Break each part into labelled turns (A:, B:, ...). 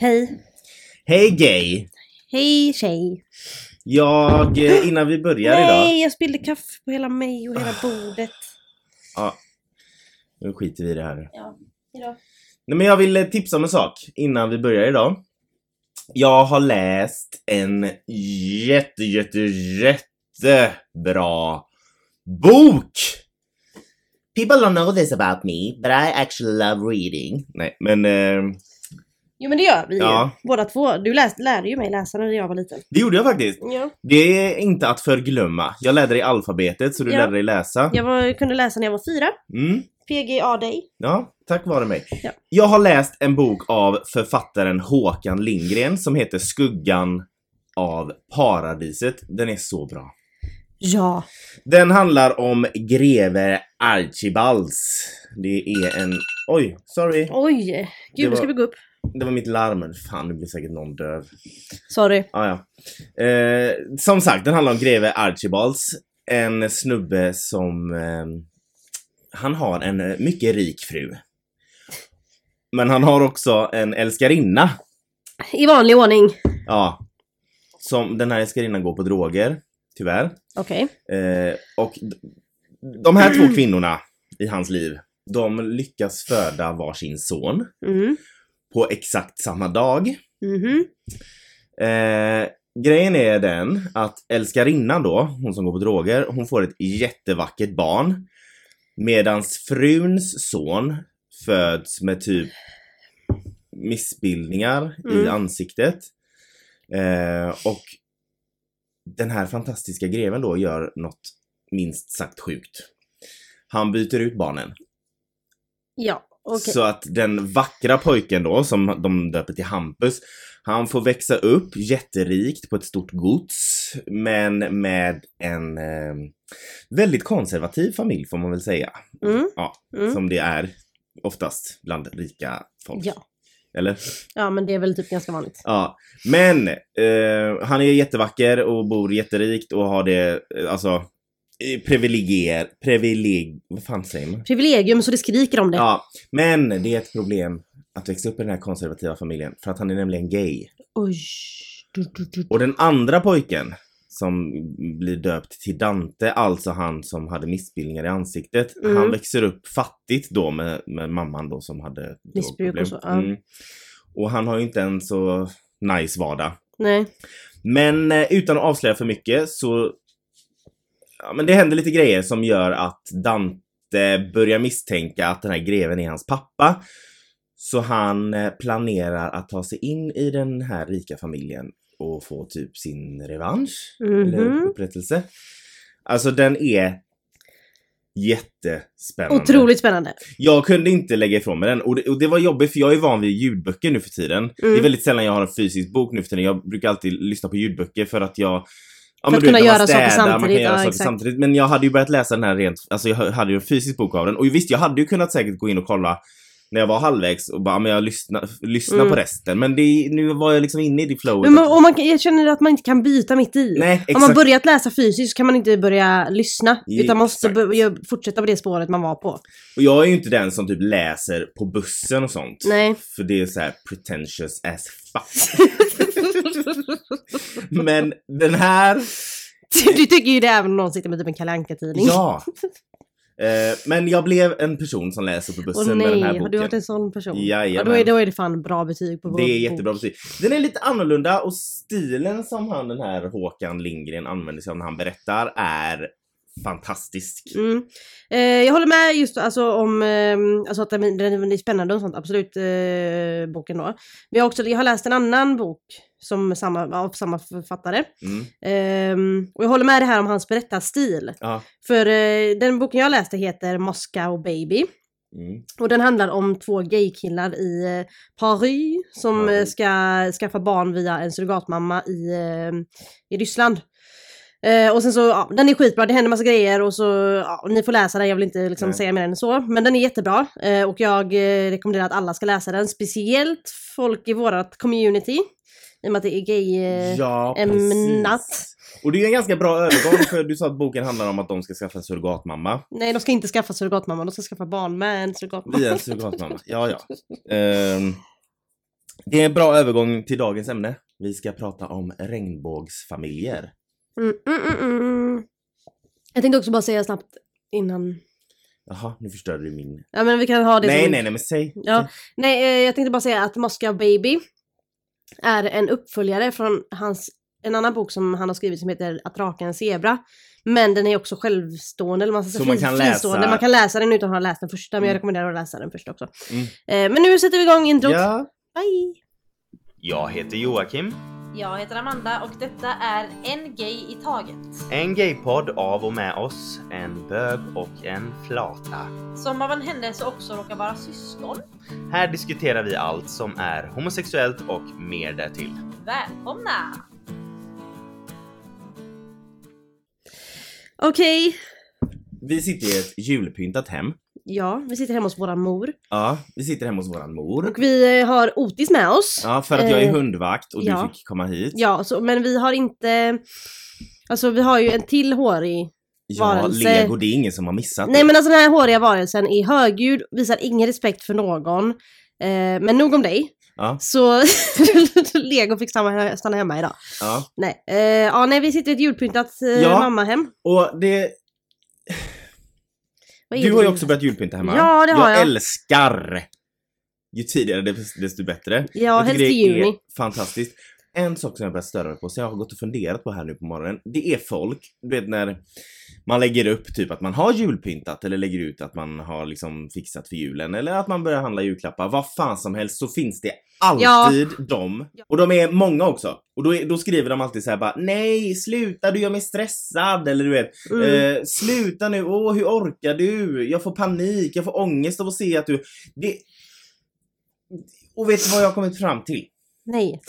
A: Hej.
B: Hej gay!
A: Hej tjej.
B: Jag, eh, innan vi börjar idag. Ah.
A: Nej, jag spillde kaffe på hela mig och hela bordet.
B: Ja, nu skiter vi i det här.
A: Ja, idag.
B: Nej men jag vill eh, tipsa om en sak innan vi börjar idag. Jag har läst en jätte, jätte, jättebra bok! People don't know this about me, but I actually love reading. Nej, men eh,
A: Jo men det gör vi
B: Ja.
A: ju. Båda två. Du läs, lärde ju mig läsa när jag var liten.
B: det gjorde jag faktiskt.
A: Ja.
B: Det är inte att förglömma. Jag lärde dig alfabetet, så du
A: Ja.
B: lärde dig läsa.
A: Jag var, kunde läsa när jag var fyra.
B: Mm.
A: PGA dig.
B: Ja, tack vare mig.
A: Ja.
B: Jag har läst en bok av författaren Håkan Lindgren som heter Skuggan av paradiset. Den är så bra.
A: Ja.
B: Den handlar om greve Archibalds. Det är en... Oj, sorry.
A: Oj. Gud,
B: Det
A: nu ska
B: var-
A: vi gå upp.
B: Det var mitt larm. Men Fan, nu blir säkert någon döv.
A: Sorry.
B: Ah, ja. eh, som sagt, den handlar om greve Archibalds. En snubbe som... Eh, han har en eh, mycket rik fru. Men han har också en älskarinna.
A: I vanlig ordning.
B: Ja. Som den här älskarinnan går på droger, tyvärr.
A: Okej.
B: Eh, och d- de här två kvinnorna i hans liv, de lyckas föda varsin son
A: Mm.
B: på exakt samma dag.
A: Mhm.
B: Eh, grejen är den att älskarinnan då, hon som går på droger, hon får ett jättevackert barn. Medans fruns son föds med typ missbildningar i
A: Mm.
B: ansiktet. Eh, och den här fantastiska greven då gör något minst sagt sjukt. Han byter ut barnen.
A: Ja. Okej.
B: Så att den vackra pojken då, som de döper till Hampus, han får växa upp jätterikt på ett stort gods, men med en eh, väldigt konservativ familj får man väl säga.
A: Mm.
B: Ja,
A: Mm.
B: som det är oftast bland rika folk.
A: Ja.
B: Eller?
A: Ja men det är väl typ ganska vanligt.
B: Ja. Men eh, han är jättevacker och bor jätterikt och har det, eh, alltså, eh, privilegier, privileg... Vad fan säger man?
A: Privilegium så det skriker om det.
B: Ja, men det är ett problem att växa upp i den här konservativa familjen för att han är nämligen gay.
A: Oj. Du, du, du.
B: Och den andra pojken som blir döpt till Dante, alltså han som hade missbildningar i ansiktet.
A: Mm.
B: Han växer upp fattigt då med, med mamman då som hade
A: Missbruk och
B: drogproblem.
A: så, ja.
B: Och han har ju inte en så nice vardag.
A: Nej.
B: Men eh, utan att avslöja för mycket så... Ja, men det händer lite grejer som gör att Dante börjar misstänka att den här greven är hans pappa. Så han eh, planerar att ta sig in i den här rika familjen och få typ sin revansch. Eller
A: Mhm.
B: upprättelse. Alltså den är jättespännande.
A: Otroligt spännande.
B: Jag kunde inte lägga ifrån mig den och det, och det var jobbigt för jag är van vid ljudböcker nu för tiden.
A: Mm.
B: Det är väldigt sällan jag har en fysisk bok nu för tiden. Jag brukar alltid lyssna på ljudböcker för att jag
A: För
B: Ja, men
A: att
B: du vet,
A: kunna
B: när
A: göra
B: man
A: saker
B: städar, Man
A: samtidigt,
B: kan göra
A: ja,
B: saker
A: exakt.
B: samtidigt. Men jag hade ju börjat läsa den här rent, alltså jag hade ju en fysisk bok av den. Och visst, jag hade ju kunnat säkert gå in och kolla när jag var halvvägs och bara, ja, men jag lyssnar lyssna
A: Mm.
B: på resten. Men det, nu var jag liksom inne i det flowet.
A: Men man, om man, kan- jag känner att man inte kan byta mitt i.
B: Nej,
A: Om
B: exakt.
A: man börjat läsa fysiskt kan man inte börja lyssna. Utan måste
B: Exakt.
A: börja fortsätta på det spåret man var på.
B: Och jag är ju inte den som typ läser på bussen och sånt.
A: Nej.
B: För det är så här pretentious as fuck. Men den här
A: du tycker ju det även om någon sitter med typ en Kalle Anka-tidning.
B: Ja! Eh, men jag blev en person som läser på bussen
A: Åh
B: med den
A: nej,
B: här
A: har du
B: boken.
A: varit en sån person?
B: Jajamän.
A: Ja, då, är, då är det fan bra betyg på vår
B: Det är
A: bok.
B: jättebra betyg. Den är lite annorlunda och stilen som han den här Håkan Lindgren använder sig av när han berättar är fantastisk.
A: Mm. Eh, jag håller med just alltså, om ehm, alltså att den, den är spännande och sånt, absolut, eh, boken då. Vi har också, jag har läst en annan bok som samma, av samma författare.
B: Mm.
A: Ehm, och jag håller med det här om hans berättarstil.
B: Ja.
A: För eh, den boken jag läste heter Moscow Baby.
B: Mm.
A: Och den handlar om två gaykillar i eh, Paris som
B: Paris.
A: eh, ska skaffa barn via en surrogatmamma i, eh, i Ryssland. Eh, och sen så, ja, den är skitbra, det händer massa grejer och så, ja, ni får läsa den, jag vill inte liksom
B: Nej.
A: säga mer än så. Men den är jättebra eh, och jag eh, rekommenderar att alla ska läsa den, speciellt folk i vårat community. I och med att det är gay... Eh,
B: Ja,
A: ämnat.
B: precis. Och det är ju en ganska bra övergång för du sa att boken handlar om att de ska skaffa en surrogatmamma.
A: Nej, de ska inte skaffa surrogatmamma, de ska skaffa barn med en surrogatmamma.
B: Via en surrogatmamma. Ja, ja. Ehm, Det är en bra övergång till dagens ämne. Vi ska prata om regnbågsfamiljer.
A: Mm, mm, mm, mm. Jag tänkte också bara säga snabbt innan.
B: Jaha, nu förstörde du min.
A: Ja men vi kan ha det
B: Nej,
A: som...
B: nej, nej, men säg.
A: Ja. Nej, eh, jag tänkte bara säga att Moscow Baby är en uppföljare från hans, en annan bok som han har skrivit som heter Att raka en zebra. Men den är också självstående, eller man ska säga
B: Så man
A: fri-
B: kan läsa-
A: fristående. Man kan läsa den utan att ha läst den första, men jag
B: Mm.
A: rekommenderar att läsa den första också.
B: Mm.
A: Eh, Men nu sätter vi igång introt.
B: Ja.
A: Bye!
B: Jag heter Joakim.
A: Jag heter Amanda och detta är En Gay i Taget.
B: En gaypodd av och med oss, en bög och en flata.
A: Som av en händelse också råkar vara syskon.
B: Här diskuterar vi allt som är homosexuellt och mer därtill.
A: Välkomna! Okej,
B: Vi sitter i ett julpyntat hem.
A: ja, vi sitter hemma hos våra mor.
B: Ja, vi sitter hemma hos våran mor.
A: Och vi eh, har Otis med oss. Ja,
B: Mm. Ja, för att jag är
A: Eh,
B: hundvakt och
A: ja.
B: du fick komma hit.
A: så, men vi har inte... Alltså vi har ju en till hårig.
B: Ja,
A: varelse.
B: Lego, det är ingen som har missat
A: Nej
B: det.
A: men alltså den här håriga varelsen är högljudd, visar ingen respekt för någon. Eh, men nog om dig.
B: Ja,
A: Så Lego fick stanna, stanna hemma idag.
B: ja.
A: Nej, eh, ja, nej vi sitter i ett julpyntat eh,
B: Ja.
A: mammahem.
B: Och det,
A: Vad är
B: du
A: det
B: har ju
A: för-
B: också börjat julpynta hemma.
A: Ja, det har jag.
B: älskar! Ju tidigare dest- desto bättre.
A: Ja,
B: Jag
A: helst
B: tycker
A: i
B: det är
A: juni.
B: Fantastiskt. En sak som jag börjat störa mig på, som jag har gått och funderat på här nu på morgonen, det är folk. Du vet när man lägger upp typ att man har julpyntat eller lägger ut att man har liksom fixat för julen eller att man börjar handla julklappar. Vad fan som helst så finns det alltid de.
A: Ja.
B: Och de är många också. Och då, är, då skriver de alltid så här bara nej sluta du gör mig stressad eller du vet
A: Mm.
B: Eh, sluta nu, åh hur orkar du? Jag får panik, jag får ångest av att se att du... Det... Och vet du vad jag har kommit fram till?
A: Nej.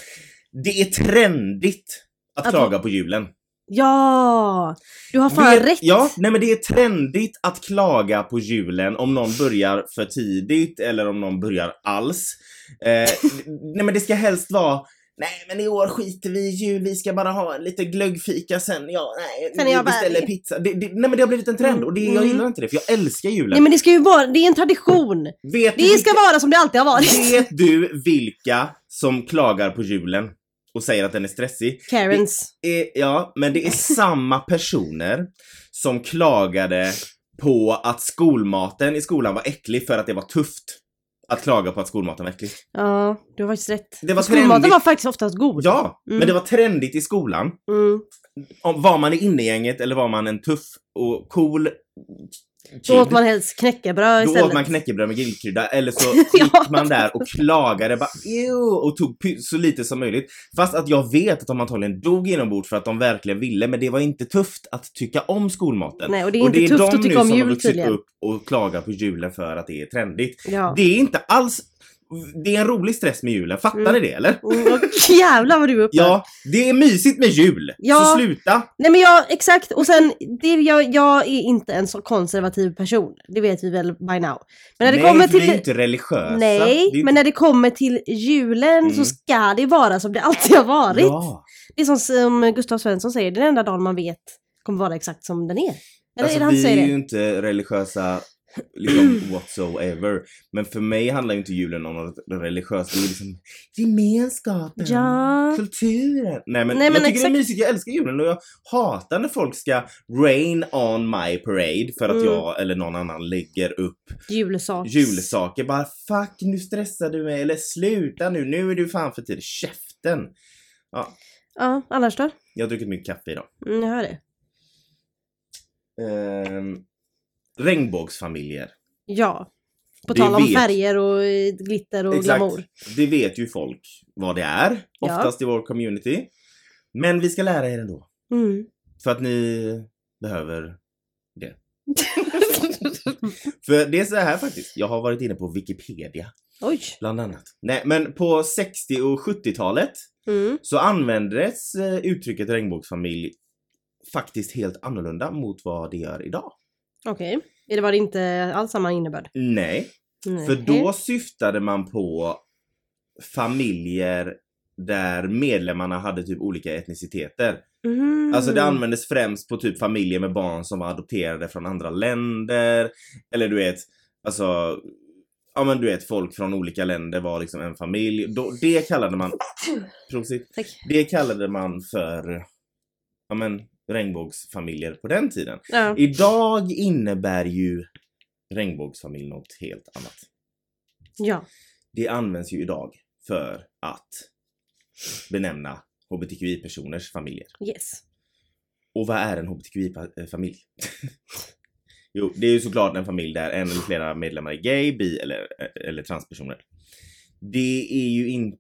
B: Det är trendigt att,
A: Att-
B: klaga på julen.
A: Ja! Du har fan
B: Det är-
A: rätt.
B: Ja, nej men det är trendigt att klaga på julen om någon börjar för tidigt eller om någon börjar alls. Eh, nej men det ska helst vara Nej men i år skiter vi i jul, vi ska bara ha lite glöggfika sen, ja nej,
A: Sen är
B: vi
A: jag bara-
B: beställer pizza. Det, det, nej men det har blivit en trend och det, jag
A: Mm.
B: gillar inte det för jag älskar julen.
A: Nej men det ska ju vara, det är en tradition.
B: Vet, du
A: Det ska
B: vilka,
A: vara som det alltid har varit.
B: vet du vilka som klagar på julen och säger att den är stressig?
A: Karens.
B: Eh, ja, men det är samma personer som klagade på att skolmaten i skolan var äcklig för att det var tufft. Att klaga på att skolmaten var äcklig.
A: Ja, du har faktiskt rätt.
B: Det var
A: Skolmaten
B: trendigt.
A: var faktiskt oftast god.
B: Ja,
A: Mm.
B: men det var trendigt i skolan.
A: Mm.
B: Om, var man i innegänget eller var man en tuff och cool
A: Då åt
B: kid?
A: man helst knäckebröd
B: Då
A: istället.
B: åt man knäckebröd med grillkrydda eller så
A: Ja.
B: gick man där och klagade bara "Ew", och tog py- så lite som möjligt. Fast att jag vet att de antagligen dog inombords för att de verkligen ville men det var inte tufft att tycka om skolmaten.
A: Nej, och det är inte tufft att tycka om
B: som har
A: jul
B: vuxit
A: tydligen.
B: upp och klagar på julen för att det är trendigt.
A: Ja.
B: Det är inte alls, det är en rolig stress med julen, fattar
A: Mm.
B: ni det eller?
A: Mm, och jävlar vad du är uppe.
B: Ja, det är mysigt med jul.
A: Ja.
B: Så sluta!
A: Nej men ja, exakt. Och sen, det, jag, jag är inte en så konservativ person. Det vet vi väl by now. Men när det
B: Nej,
A: kommer
B: för vi är ju
A: till...
B: inte religiösa. Det är
A: Nej,
B: ju
A: men när det kommer till julen så
B: Mm.
A: ska det vara som det alltid har varit.
B: Ja.
A: Det är som, som Gustav Svensson säger, det är den enda dagen man vet kommer vara exakt som den är. Eller är det han som
B: Alltså, vi
A: säger
B: är ju
A: det?
B: inte religiösa liksom whatsoever. Men för mig handlar ju inte julen om något religiöst. Det är liksom gemenskapen,
A: Ja.
B: kulturen. Nej men,
A: Nej, men
B: jag tycker det är
A: exakt.
B: mysigt. Jag älskar julen och jag hatar när folk ska rain on my parade för att
A: Mm.
B: jag eller någon annan lägger upp
A: Julsaks.
B: julsaker. Bara fuck nu stressar du mig eller sluta nu, nu är du fan för tidigt. Käften!
A: Ja, annars då?
B: Jag har druckit mycket kaffe idag.
A: Mm, jag hör det.
B: Ehm, regnbågsfamiljer.
A: Ja. På
B: Vi
A: tal om
B: vet.
A: färger och eh, glitter och
B: Exakt.
A: glamour.
B: Det vet ju folk vad det är,
A: Ja.
B: oftast i vår community. Men vi ska lära er ändå,
A: Mm.
B: för att ni behöver det. För det är så här faktiskt, jag har varit inne på Wikipedia
A: Oj.
B: bland annat. Nej, men på 60 och 70-talet
A: Mm.
B: så användes eh, uttrycket regnbågsfamilj faktiskt helt annorlunda mot vad det gör idag.
A: Okej. Eller var det inte alls samma innebörd?
B: Nej,
A: Nej.
B: för då syftade man på familjer där medlemmarna hade typ olika etniciteter.
A: Mm.
B: Alltså det användes främst på typ familjer med barn som var adopterade från andra länder. Eller du vet, alltså ja men du vet, folk från olika länder var liksom en familj. Då, det kallade man... Prosit.
A: Tack.
B: Det kallade man för, ja men, regnbågsfamiljer på den tiden.
A: Ja.
B: Idag innebär ju regnbågsfamilj något helt annat.
A: ja.
B: Det används ju idag för att benämna hbtqi-personers familjer.
A: Yes.
B: Och vad är en hbtqi-familj? jo, det är ju såklart en familj där en eller flera medlemmar är gay, bi eller, eller transpersoner. Det är ju inte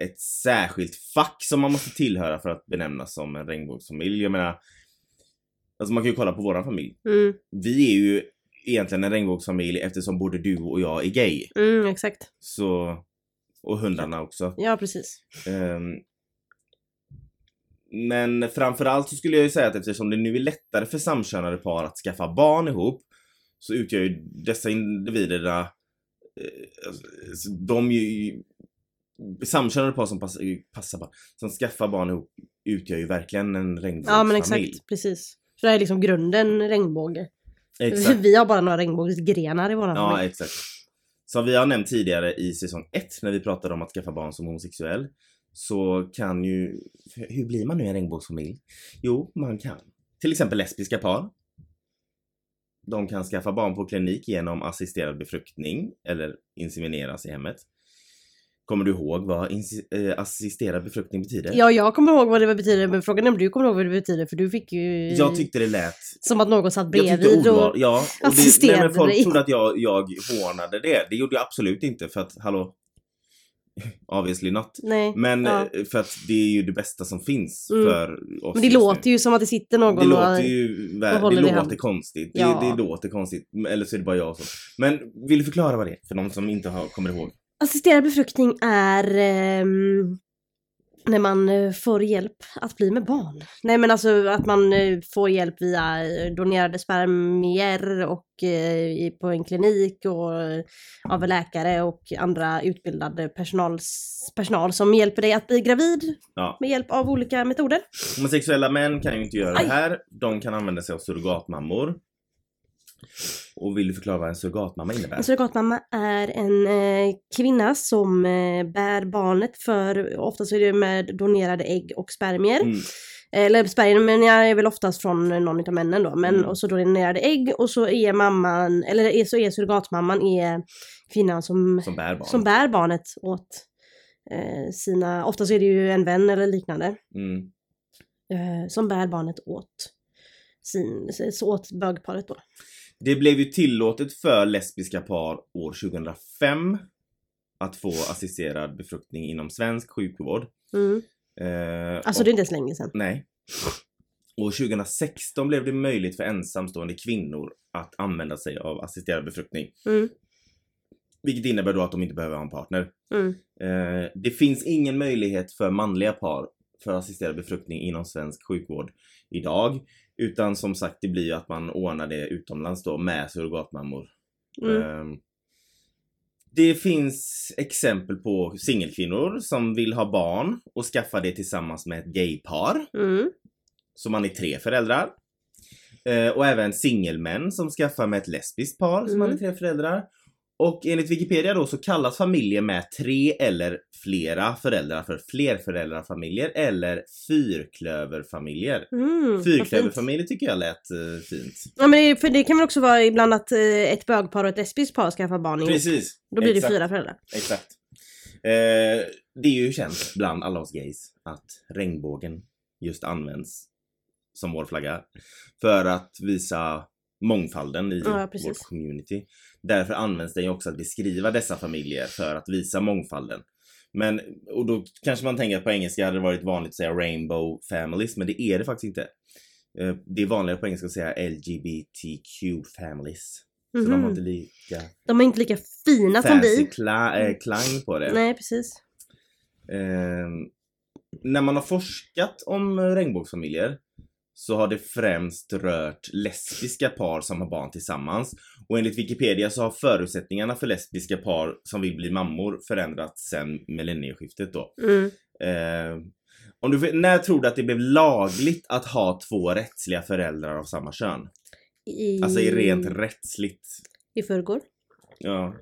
B: ett särskilt fack som man måste tillhöra för att benämnas som en regnbågsfamilj. Jag menar, alltså man kan ju kolla på våran familj.
A: Mm,
B: Vi är ju egentligen en regnbågsfamilj eftersom både du och jag är gay.
A: mm, exakt.
B: Så, och hundarna också.
A: Ja, precis.
B: Ehm, men framförallt så skulle jag ju säga att eftersom det nu är lättare för samkönade par att skaffa barn ihop så utgör ju dessa individerna, eh, alltså, de ju, samkönade par som pass, passar barn, som skaffar barn ihop utgör ju verkligen en regnbågsfamilj.
A: Ja, men exakt. Precis. Så det här är liksom grunden regnbåge.
B: Exakt.
A: Vi har bara några regnbågsgrenar i våran
B: Ja,
A: familj.
B: exakt. Som vi har nämnt tidigare i säsong 1 när vi pratade om att skaffa barn som homosexuell så kan ju... Hur blir man nu en regnbågsfamilj? Jo, man kan. Till exempel lesbiska par. De kan skaffa barn på klinik genom assisterad befruktning eller insemineras i hemmet. Kommer du ihåg vad insi- eh, assisterad befruktning betyder?
A: Ja, jag kommer ihåg vad det betyder, men frågan är om du kommer ihåg vad det betyder, för du fick ju...
B: Jag tyckte det lät
A: Som att någon satt
B: Jag tyckte
A: bredvid
B: ord var,
A: och...
B: ja. Och det, nej,
A: assisterade
B: men folk
A: dig.
B: trodde att jag, jag hånade det. Det gjorde jag absolut inte för att, hallå? Obviously not.
A: Nej.
B: Men
A: Ja.
B: eh, för att det är ju det bästa som finns
A: Mm.
B: för oss
A: Men det låter ju som att det sitter någon
B: Det låter
A: och...
B: ju
A: och
B: vär,
A: håller
B: det
A: i
B: låter
A: handen.
B: konstigt. Det,
A: Ja.
B: det låter konstigt. Eller så är det bara jag som... Men vill du förklara vad det är för någon som inte har, kommer ihåg?
A: Assisterad befruktning är ehm, när man eh, får hjälp att bli med barn. Nej men alltså att man eh, får hjälp via eh, donerade spermier och eh, i- på en klinik och eh, av läkare och andra utbildade personals, personal som hjälper dig att bli gravid
B: Ja.
A: med hjälp av olika metoder.
B: Homosexuella män kan ju inte göra
A: Aj.
B: det här. De kan använda sig av surrogatmammor. Och vill du förklara vad en surrogatmamma innebär?
A: En Alltså, surrogatmamma är en eh, kvinna som eh, bär barnet för, ofta så är det med donerade ägg och spermier.
B: Mm.
A: Eller spermier, men jag är väl oftast från någon utav männen då. Men
B: Mm.
A: och så donerade ägg och så är mamman, eller är- så är surrogatmamman är kvinnan som,
B: Som bär barn.
A: som bär barnet åt eh, sina, ofta så är det ju en vän eller liknande,
B: Mm.
A: eh, som bär barnet åt sin, så åt bögparet då.
B: Det blev ju tillåtet för lesbiska par år 2005 att få assisterad befruktning inom svensk sjukvård.
A: Mm.
B: Eh,
A: Alltså
B: och,
A: det är inte så länge sedan.
B: Nej. År 2016 blev det möjligt för ensamstående kvinnor att använda sig av assisterad befruktning.
A: Mm.
B: Vilket innebär då att de inte behöver ha en partner.
A: Mm.
B: Eh, det finns ingen möjlighet för manliga par för assisterad befruktning inom svensk sjukvård idag. Utan som sagt, det blir ju att man ordnar det utomlands då med surrogatmammor
A: Mm.
B: Ehm, Det finns exempel på singelkvinnor som vill ha barn och skaffa det tillsammans med ett gaypar.
A: Mm.
B: Så man är tre föräldrar. Eh, Och även singelmän som skaffar med ett lesbiskt par som man är
A: Mm.
B: tre föräldrar. Och enligt Wikipedia då så kallas familjer med tre eller flera föräldrar för flerföräldrarfamiljer eller fyrklöverfamiljer.
A: Mm. vad fint.
B: Fyrklöverfamiljer tycker jag lät eh, fint.
A: Ja men det, för det kan väl också vara ibland att eh, ett bögpar och ett lesbiskt par skaffar barn ihop.
B: Precis!
A: Då blir
B: Exakt.
A: det fyra föräldrar.
B: Exakt. Eh, det är ju känt bland alla oss gays att regnbågen just används som vår flagga för att visa mångfalden i
A: Ja,
B: vårt
A: precis.
B: community. Därför används den ju också att beskriva dessa familjer för att visa mångfalden. Men, och då kanske man tänker att på engelska hade det varit vanligt att säga rainbow families, men det är det faktiskt inte. Eh, Det är vanligare på engelska att säga LGBTQ families. Så de har
A: Mhm.
B: inte lika
A: De är inte lika fina som
B: fancy
A: vi.
B: kla- eh, klang på det.
A: Nej, precis.
B: Ehm, när man har forskat om eh, regnbågsfamiljer så har det främst rört lesbiska par som har barn tillsammans. Och enligt Wikipedia så har förutsättningarna för lesbiska par som vill bli mammor förändrats sen millennieskiftet då.
A: Mm.
B: Ehm, om du, när tror du att det blev lagligt att ha två rättsliga föräldrar av samma kön?
A: I, Mm.
B: Alltså i rent rättsligt.
A: I förrgår.
B: Ja.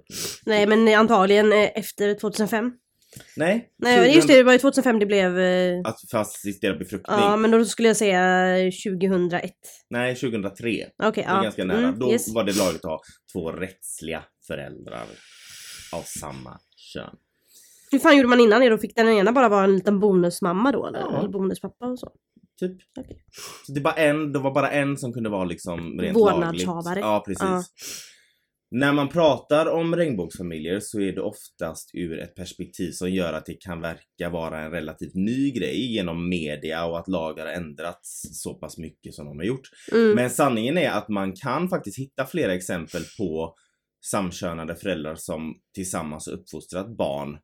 A: Nej, men antagligen eh, efter 2005.
B: Nej.
A: Nej, just det, det var ju 2005 det blev... eh,
B: Att för assisterad befruktning.
A: Ja, men då skulle jag säga eh, 2001.
B: Nej, 2003.
A: Okej,
B: Det är
A: ja.
B: ganska nära.
A: Mm,
B: Då
A: yes.
B: var det lagligt att ha två rättsliga föräldrar av samma kön.
A: Hur fan gjorde man innan det då? Fick den ena bara vara en liten bonusmamma då eller,
B: Ja.
A: eller bonuspappa och så?
B: Typ.
A: Okej.
B: Så det, var en, det var bara en som kunde vara liksom rent
A: Vårdnadshavare.
B: lagligt. Ja, precis.
A: Ja.
B: När man pratar om regnbågsfamiljer så är det oftast ur ett perspektiv som gör att det kan verka vara en relativt ny grej genom media och att lagar har ändrats så pass mycket som de har gjort.
A: Mm.
B: Men sanningen är att man kan faktiskt hitta flera exempel på samkönade föräldrar som tillsammans har uppfostrat barn.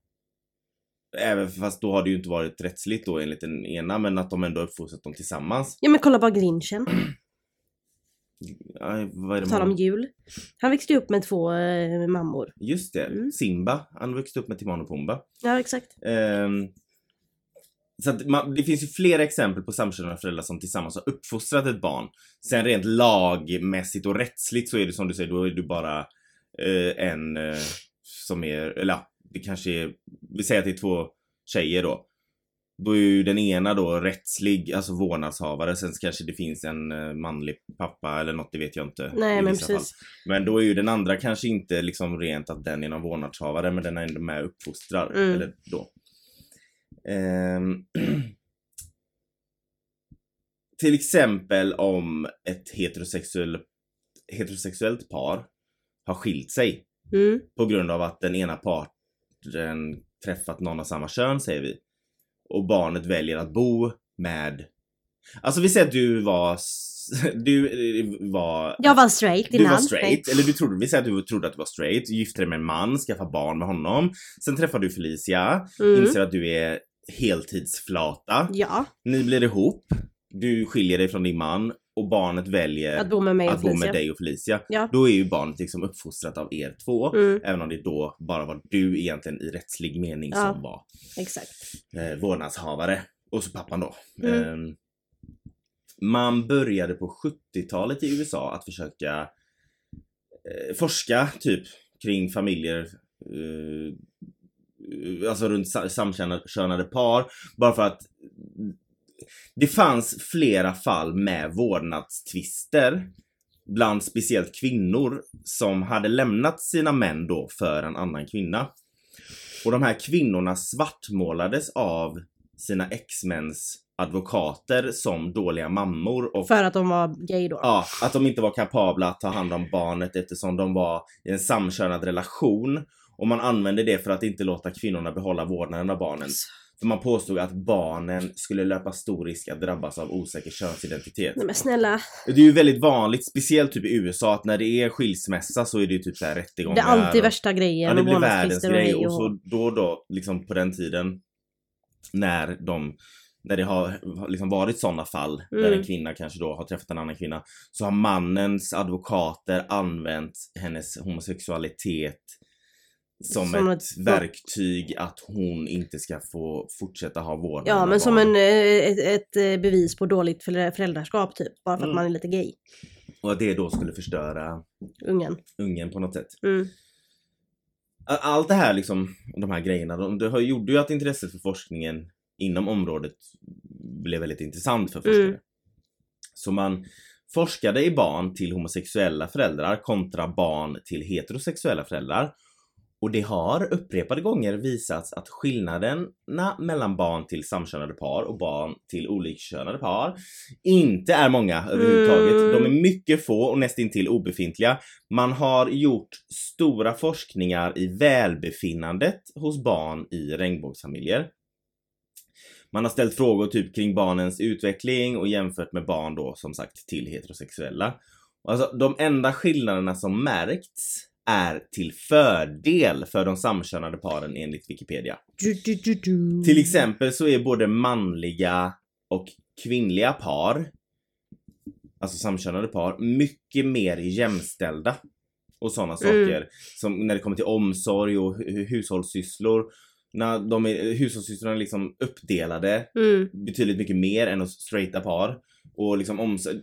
B: Även fast då har det ju inte varit rättsligt då enligt den ena, men att de ändå har uppfostrat dem tillsammans.
A: Ja men kolla bara grinchen,
B: Aj, vad är
A: på
B: det
A: tal om
B: man...
A: jul. Han växte ju upp med två eh, mammor.
B: Just det,
A: Mm.
B: Simba. Han växte upp med Timon och Pumba.
A: Ja exakt.
B: Ehm, så att man, det finns ju flera exempel på samkönade föräldrar som tillsammans har uppfostrat ett barn. Sen rent lagmässigt och rättsligt så är det som du säger, då är du bara eh, en eh, som är, eller ja, det kanske är, vi säger att det är två tjejer då. Då är ju den ena då rättslig, alltså vårdnadshavare. Sen kanske det finns en eh, manlig pappa eller något, det vet jag inte.
A: Nej
B: i
A: men
B: vissa fall.
A: precis.
B: Men då är ju den andra kanske inte liksom rent att den är någon vårdnadshavare men den är ändå med och uppfostrar.
A: Mm.
B: Eller då. Ehm. Till exempel om ett heterosexuell, heterosexuellt par har skilt sig
A: Mm.
B: på grund av att den ena parten träffat någon av samma kön säger vi. Och barnet väljer att bo med... Alltså vi säger att du var... s- Du eh, var
A: Jag var straight
B: du
A: innan.
B: var straight, eller du trodde, vi säger att du trodde att du var straight, du gifte dig med en man, skaffade barn med honom. Sen träffar du Felicia,
A: Nej. Mm.
B: inser att du är heltidsflata.
A: Ja,
B: Ni blir ihop, du skiljer dig från din man och barnet väljer
A: att bo med mig och
B: Eh, att bo med
A: Felicia.
B: dig och Felicia.
A: Ja.
B: Då är ju barnet liksom uppfostrat av er två.
A: Mm,
B: Även om det då bara var du egentligen i rättslig mening
A: Ja.
B: som var
A: exakt.
B: eh, vårdnadshavare. Och så pappan då.
A: Mm.
B: Ehm, man började på 70-talet i USA att försöka eh, forska typ kring familjer eh, eh, Alltså runt sa- samkönade par. Bara för att det fanns flera fall med vårdnadstvister bland speciellt kvinnor som hade lämnat sina män då för en annan kvinna. Och de här kvinnorna svartmålades av sina ex-mäns advokater som dåliga mammor och
A: För att de var gay då.
B: Ja, att de inte var kapabla att ta hand om barnet eftersom de var i en samkönad relation. Och man använde det för att inte låta kvinnorna behålla vårdnaden av barnen. För man påstod att barnen skulle löpa stor risk att drabbas av osäker könsidentitet.
A: Nej men snälla.
B: Det är ju väldigt vanligt, speciellt typ i USA, att när det är skilsmässa så är det ju typ såhär rättegångar.
A: Det är alltid
B: och-
A: värsta grejen.
B: Ja, det
A: och
B: blir världens
A: vårdnadstvister och
B: grej.
A: hej
B: Och så då och då, liksom på den tiden, när de när det har har liksom varit sådana fall där
A: Mm.
B: en kvinna kanske då har träffat en annan kvinna så har mannens advokater använt hennes homosexualitet som,
A: Som
B: ett
A: ett-
B: verktyg att hon inte ska få fortsätta ha vårdnad
A: Ja
B: av
A: men som
B: barn.
A: en, eh, ett, ett eh, bevis på dåligt föräldra- föräldraskap typ. Bara för att
B: Mm.
A: man är lite gay.
B: Och att det då skulle förstöra
A: Ungen.
B: ungen på något sätt.
A: Mm.
B: All- Allt det här liksom, de här grejerna, de, det har, gjorde ju att intresset för forskningen inom området blev väldigt intressant för forskare.
A: Mm.
B: Så man forskade i barn till homosexuella föräldrar kontra barn till heterosexuella föräldrar. Och det har upprepade gånger visats att skillnaderna mellan barn till samkönade par och barn till olikkönade par inte är många överhuvudtaget.
A: Mm.
B: De är mycket få och nästintill obefintliga. Man har gjort stora forskningar i välbefinnandet hos barn i regnbågsfamiljer. Man har ställt frågor typ kring barnens utveckling och jämfört med barn då som sagt till heterosexuella. Och Alltså, de enda skillnaderna som märkts är till fördel för de samkönade paren enligt Wikipedia.
A: Du, du, du, du.
B: Till exempel så är både manliga och kvinnliga par, alltså samkönade par, mycket mer jämställda. Och sådana
A: Mm.
B: saker. Som när det kommer till omsorg och hu- hu- hushållssysslor. När de är, hushållssysslorna är liksom uppdelade
A: Mm.
B: betydligt mycket mer än hos straighta par. och liksom omsorg.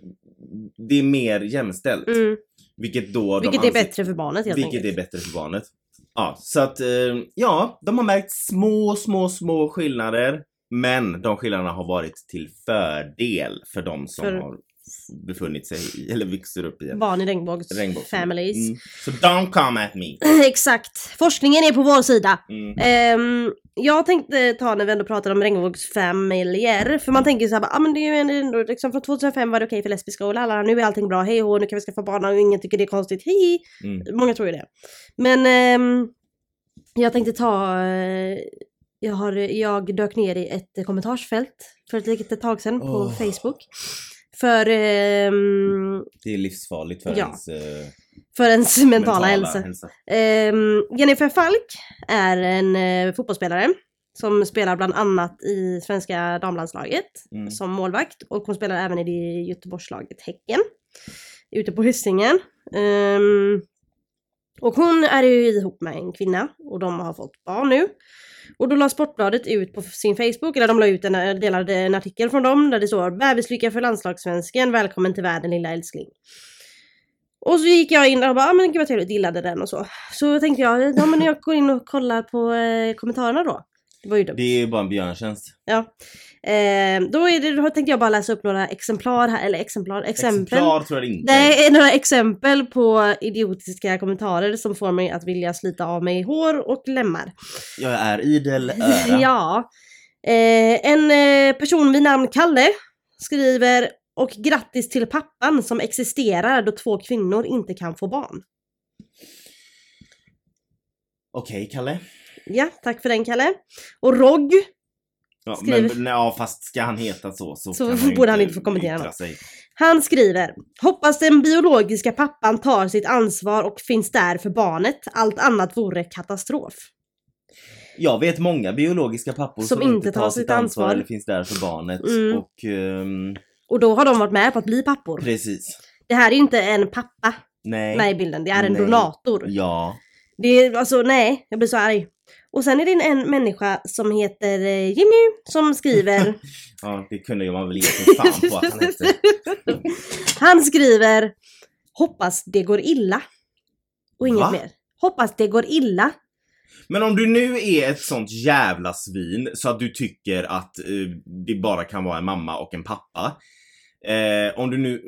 B: Det är mer jämställt.
A: Mm.
B: Vilket då
A: Vilket
B: de
A: är
B: anser-
A: bättre för barnet helt
B: Vilket
A: enkelt.
B: är bättre för barnet. Ja, så att eh, ja, de har märkt små, små, små skillnader. Men de skillnaderna har varit till fördel för de som
A: För-
B: har befunnit sig i, eller växer upp i en
A: Barn i regnbågs
B: regnbåge.
A: families.
B: Mm. Så don't come at me.
A: Exakt. Forskningen är på vår sida.
B: Mm.
A: Ehm, jag tänkte ta när vi ändå pratar om regnbågsfamiljer, för man tänker såhär, ah, men det är ju ändå liksom från 2005 var det okej för lesbiska och lalala, nu är allting bra, hej och hå, nu kan vi skaffa barn och ingen tycker det är konstigt, hej!
B: Mm.
A: Många tror ju det. Men ehm, jag tänkte ta, eh, jag, har, jag dök ner i ett kommentarsfält för ett litet tag sedan
B: Åh.
A: på Facebook. För, ehm,
B: Det är livsfarligt för
A: Ja.
B: ens eh,
A: för ens mentala, hälsa.
B: hälsa.
A: Ehm, Jennifer Falk är en eh, fotbollsspelare som spelar bland annat i svenska damlandslaget
B: Mm.
A: som målvakt och hon spelar även i det Göteborgslaget Häcken ute på Hisingen. Ehm, och hon är ju ihop med en kvinna och de har fått barn nu. Och då la Sportbladet ut på sin Facebook, eller de la ut en, eh, delade en artikel från dem där det står “Bebislycka för landslagssvensken, välkommen till världen lilla älskling”. Och så gick jag in och bara, ah, men gud vad trevligt, gillade den och så. Så tänkte jag, ja men jag går in och kollar på eh, kommentarerna då. Det var ju dumt.
B: Det är ju bara en björntjänst.
A: Ja. Eh, då, är det, då tänkte jag bara läsa upp några exemplar här, eller exemplar, exempel.
B: Exemplar tror jag inte.
A: Det är några exempel på idiotiska kommentarer som får mig att vilja slita av mig hår och lemmar.
B: Jag är idel öra.
A: ja. Eh, en eh, person vid namn Kalle skriver och grattis till pappan som existerar då två kvinnor inte kan få barn.
B: Okej Kalle.
A: Ja, tack för den Kalle. Och Rogg,
B: Ja, men,
A: Skriver-
B: nej, ja fast ska han heta så så,
A: Så
B: kan
A: borde han inte få kommentera
B: yttra
A: något.
B: sig.
A: han skriver Hoppas den biologiska pappan tar sitt ansvar och finns där för barnet. Allt annat vore katastrof.
B: Jag vet många biologiska pappor som, inte tar sitt ansvar, eller finns där för barnet.
A: Mm.
B: Och ehm,
A: Och då har de varit med på att bli pappor.
B: precis.
A: Det här är ju inte en pappa
B: Nej.
A: med i bilden, det är en
B: Nej.
A: donator.
B: Ja.
A: Det är alltså, nej, jag blir så arg. Och sen är det en människa som heter eh, Jimmy som skriver,
B: ja, det kunde ju man väl ge sig fan på att han hette.
A: han skriver Hoppas det går illa. Och inget
B: Va?
A: mer. Hoppas det går illa.
B: Men om du nu är ett sånt jävla svin så att du tycker att eh, det bara kan vara en mamma och en pappa. Eh, om du nu,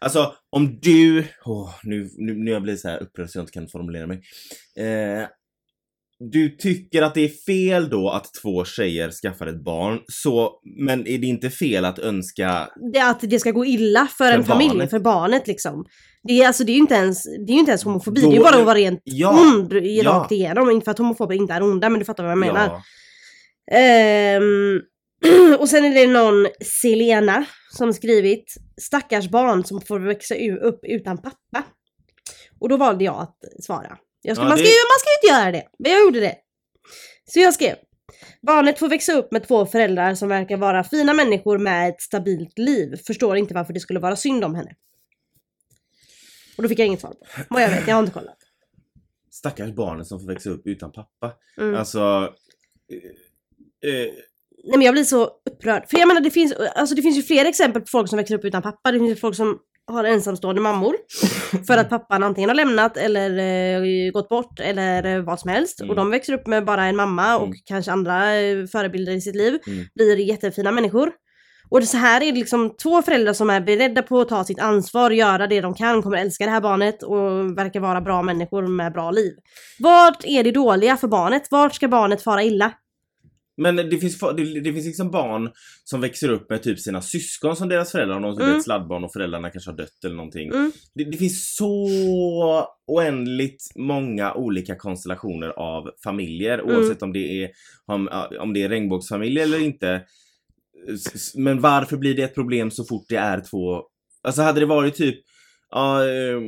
B: alltså om du, åh, nu, nu, nu jag blir så här upprörd så jag inte kan formulera mig. Eh, du tycker att det är fel då att två tjejer skaffar ett barn, så, men är det inte fel att önska,
A: Det, att det ska gå illa för, en familj,
B: barnet.
A: för barnet liksom. Det är, alltså, det är ju inte ens, det är ju inte ens homofobi,
B: Då-
A: det är ju bara att vara rent
B: ja,
A: ond i-
B: Ja.
A: rakt igenom. Inte för att homofober inte är onda, men du fattar vad Mm, jag menar.
B: ja,
A: Ehm, och sen är det någon Selena som skrivit stackars barn som får växa u- upp utan pappa. Och då valde jag att svara. Jag ska,
B: Ja,
A: man, ska
B: det-
A: ju, man ska ju inte göra det, men jag gjorde det. Så jag skrev. Barnet får växa upp med två föräldrar som verkar vara fina människor med ett stabilt liv. Förstår inte varför det skulle vara synd om henne. Och då fick jag inget svar på. Vad jag vet, jag har inte kollat.
B: stackars barnet som får växa upp utan pappa.
A: Mm.
B: Alltså, eh, eh,
A: Nej men jag blir så upprörd. För jag menar det finns, alltså, det finns ju flera exempel på folk som växer upp utan pappa. Det finns ju folk som har ensamstående mammor. För att pappan antingen har lämnat eller eh, gått bort eller eh, vad som helst.
B: Mm.
A: Och de växer upp med bara en mamma och
B: Mm.
A: kanske andra eh, förebilder i sitt liv.
B: Mm.
A: Blir jättefina människor. Och det så här är det liksom två föräldrar som är beredda på att ta sitt ansvar, göra det de kan, kommer älska det här barnet och verkar vara bra människor med bra liv. Vart är det dåliga för barnet? Vart ska barnet fara illa?
B: Men det finns, fa- det, det finns liksom barn som växer upp med typ sina syskon som deras föräldrar, om de typ är
A: Mm.
B: ett sladdbarn och föräldrarna kanske har dött eller någonting.
A: Mm.
B: Det, det finns så oändligt många olika konstellationer av familjer
A: Mm.
B: oavsett om det är, om, om det är regnbågsfamilj eller inte. S- s- Men varför blir det ett problem så fort det är två, alltså hade det varit typ ja, eh,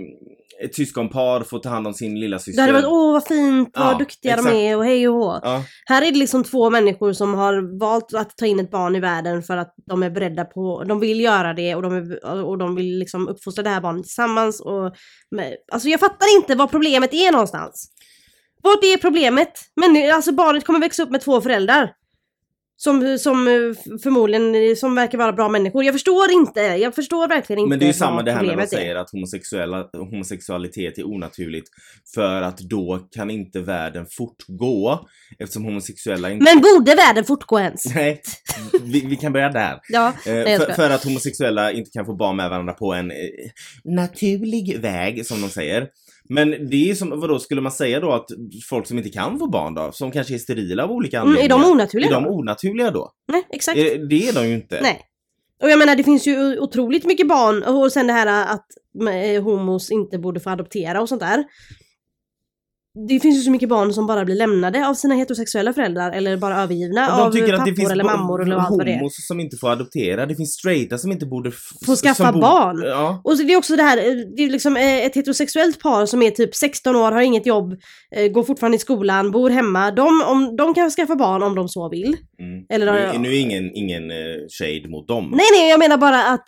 B: ett syskonpar får ta hand om sin lilla
A: Det
B: syster.
A: hade varit åh vad fint, vad
B: Ja,
A: duktiga
B: exakt.
A: de är och hej och hå.
B: ja,
A: Här är det liksom två människor som har valt att ta in ett barn i världen för att de är beredda på, de vill göra det och de, är, och de vill liksom uppfostra det här barnet tillsammans. Och med, alltså jag fattar inte vad problemet är någonstans. Vart är problemet? Men, alltså barnet kommer växa upp med två föräldrar. Som, som eh, förmodligen som verkar vara bra människor. Jag förstår inte. Jag förstår verkligen inte
B: Men det är ju
A: vad
B: samma det här när man
A: problemet är.
B: säger att homosexuella, homosexualitet är onaturligt för att då kan inte världen fortgå eftersom homosexuella inte...
A: Men borde världen fortgå ens?
B: Nej, vi, vi kan börja där.
A: Ja,
B: Eh,
A: jag
B: för,
A: skojar.
B: för att homosexuella inte kan få barn med varandra på en eh, naturlig väg, som de säger. Men det är som, vadå, skulle man säga då att folk som inte kan få barn då, som kanske är sterila av olika
A: mm, är
B: anledningar,
A: de onaturliga?
B: är de onaturliga då?
A: Nej, exakt.
B: Eh, Det är de ju inte.
A: Nej. Och jag menar det finns ju otroligt mycket barn och sen det här att eh, homos inte borde få adoptera och sånt där. Det finns ju så mycket barn som bara blir lämnade av sina heterosexuella föräldrar eller bara övergivna
B: Och
A: av
B: de tycker att
A: pappor
B: det finns
A: eller mammor eller allt vad det är.
B: homos som inte får adoptera, det finns straighta som inte borde... f-
A: Få skaffa
B: som bor-
A: barn.
B: Ja.
A: Och så det är också det här, eh, det är liksom eh, ett heterosexuellt par som är typ 16 år, har inget jobb, eh, går fortfarande i skolan, bor hemma. De, om, de kan skaffa barn om de så vill.
B: Mm.
A: Eller har
B: nu,
A: jag-
B: nu är ingen, ingen eh, shade mot dem.
A: Nej nej, jag menar bara att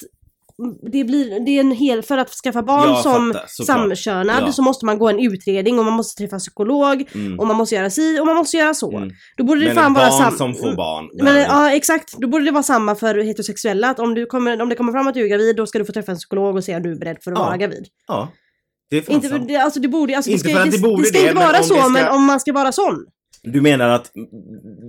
A: det blir, det är en hel, för att skaffa barn
B: Jag
A: som
B: fattar, såklart.
A: samkönad
B: Ja.
A: så måste man gå en utredning och man måste träffa psykolog
B: Mm.
A: och man måste göra si och man måste göra så.
B: Mm.
A: Då borde det
B: Men
A: fan
B: ett
A: vara
B: barn
A: samma.
B: som får barn.
A: Men, ja exakt, då borde det vara samma för heterosexuella att om, du kommer, om det kommer fram att du är gravid då ska du få träffa en psykolog och se om du är beredd för att
B: Ja.
A: vara gravid.
B: ja. Det är fan
A: Inte,
B: sant.
A: det, alltså det borde, alltså,
B: Inte
A: det
B: för
A: ska,
B: att det borde
A: ska
B: det,
A: inte
B: men
A: vara
B: om
A: så
B: det ska-
A: men om man ska vara sån.
B: Du menar att mm,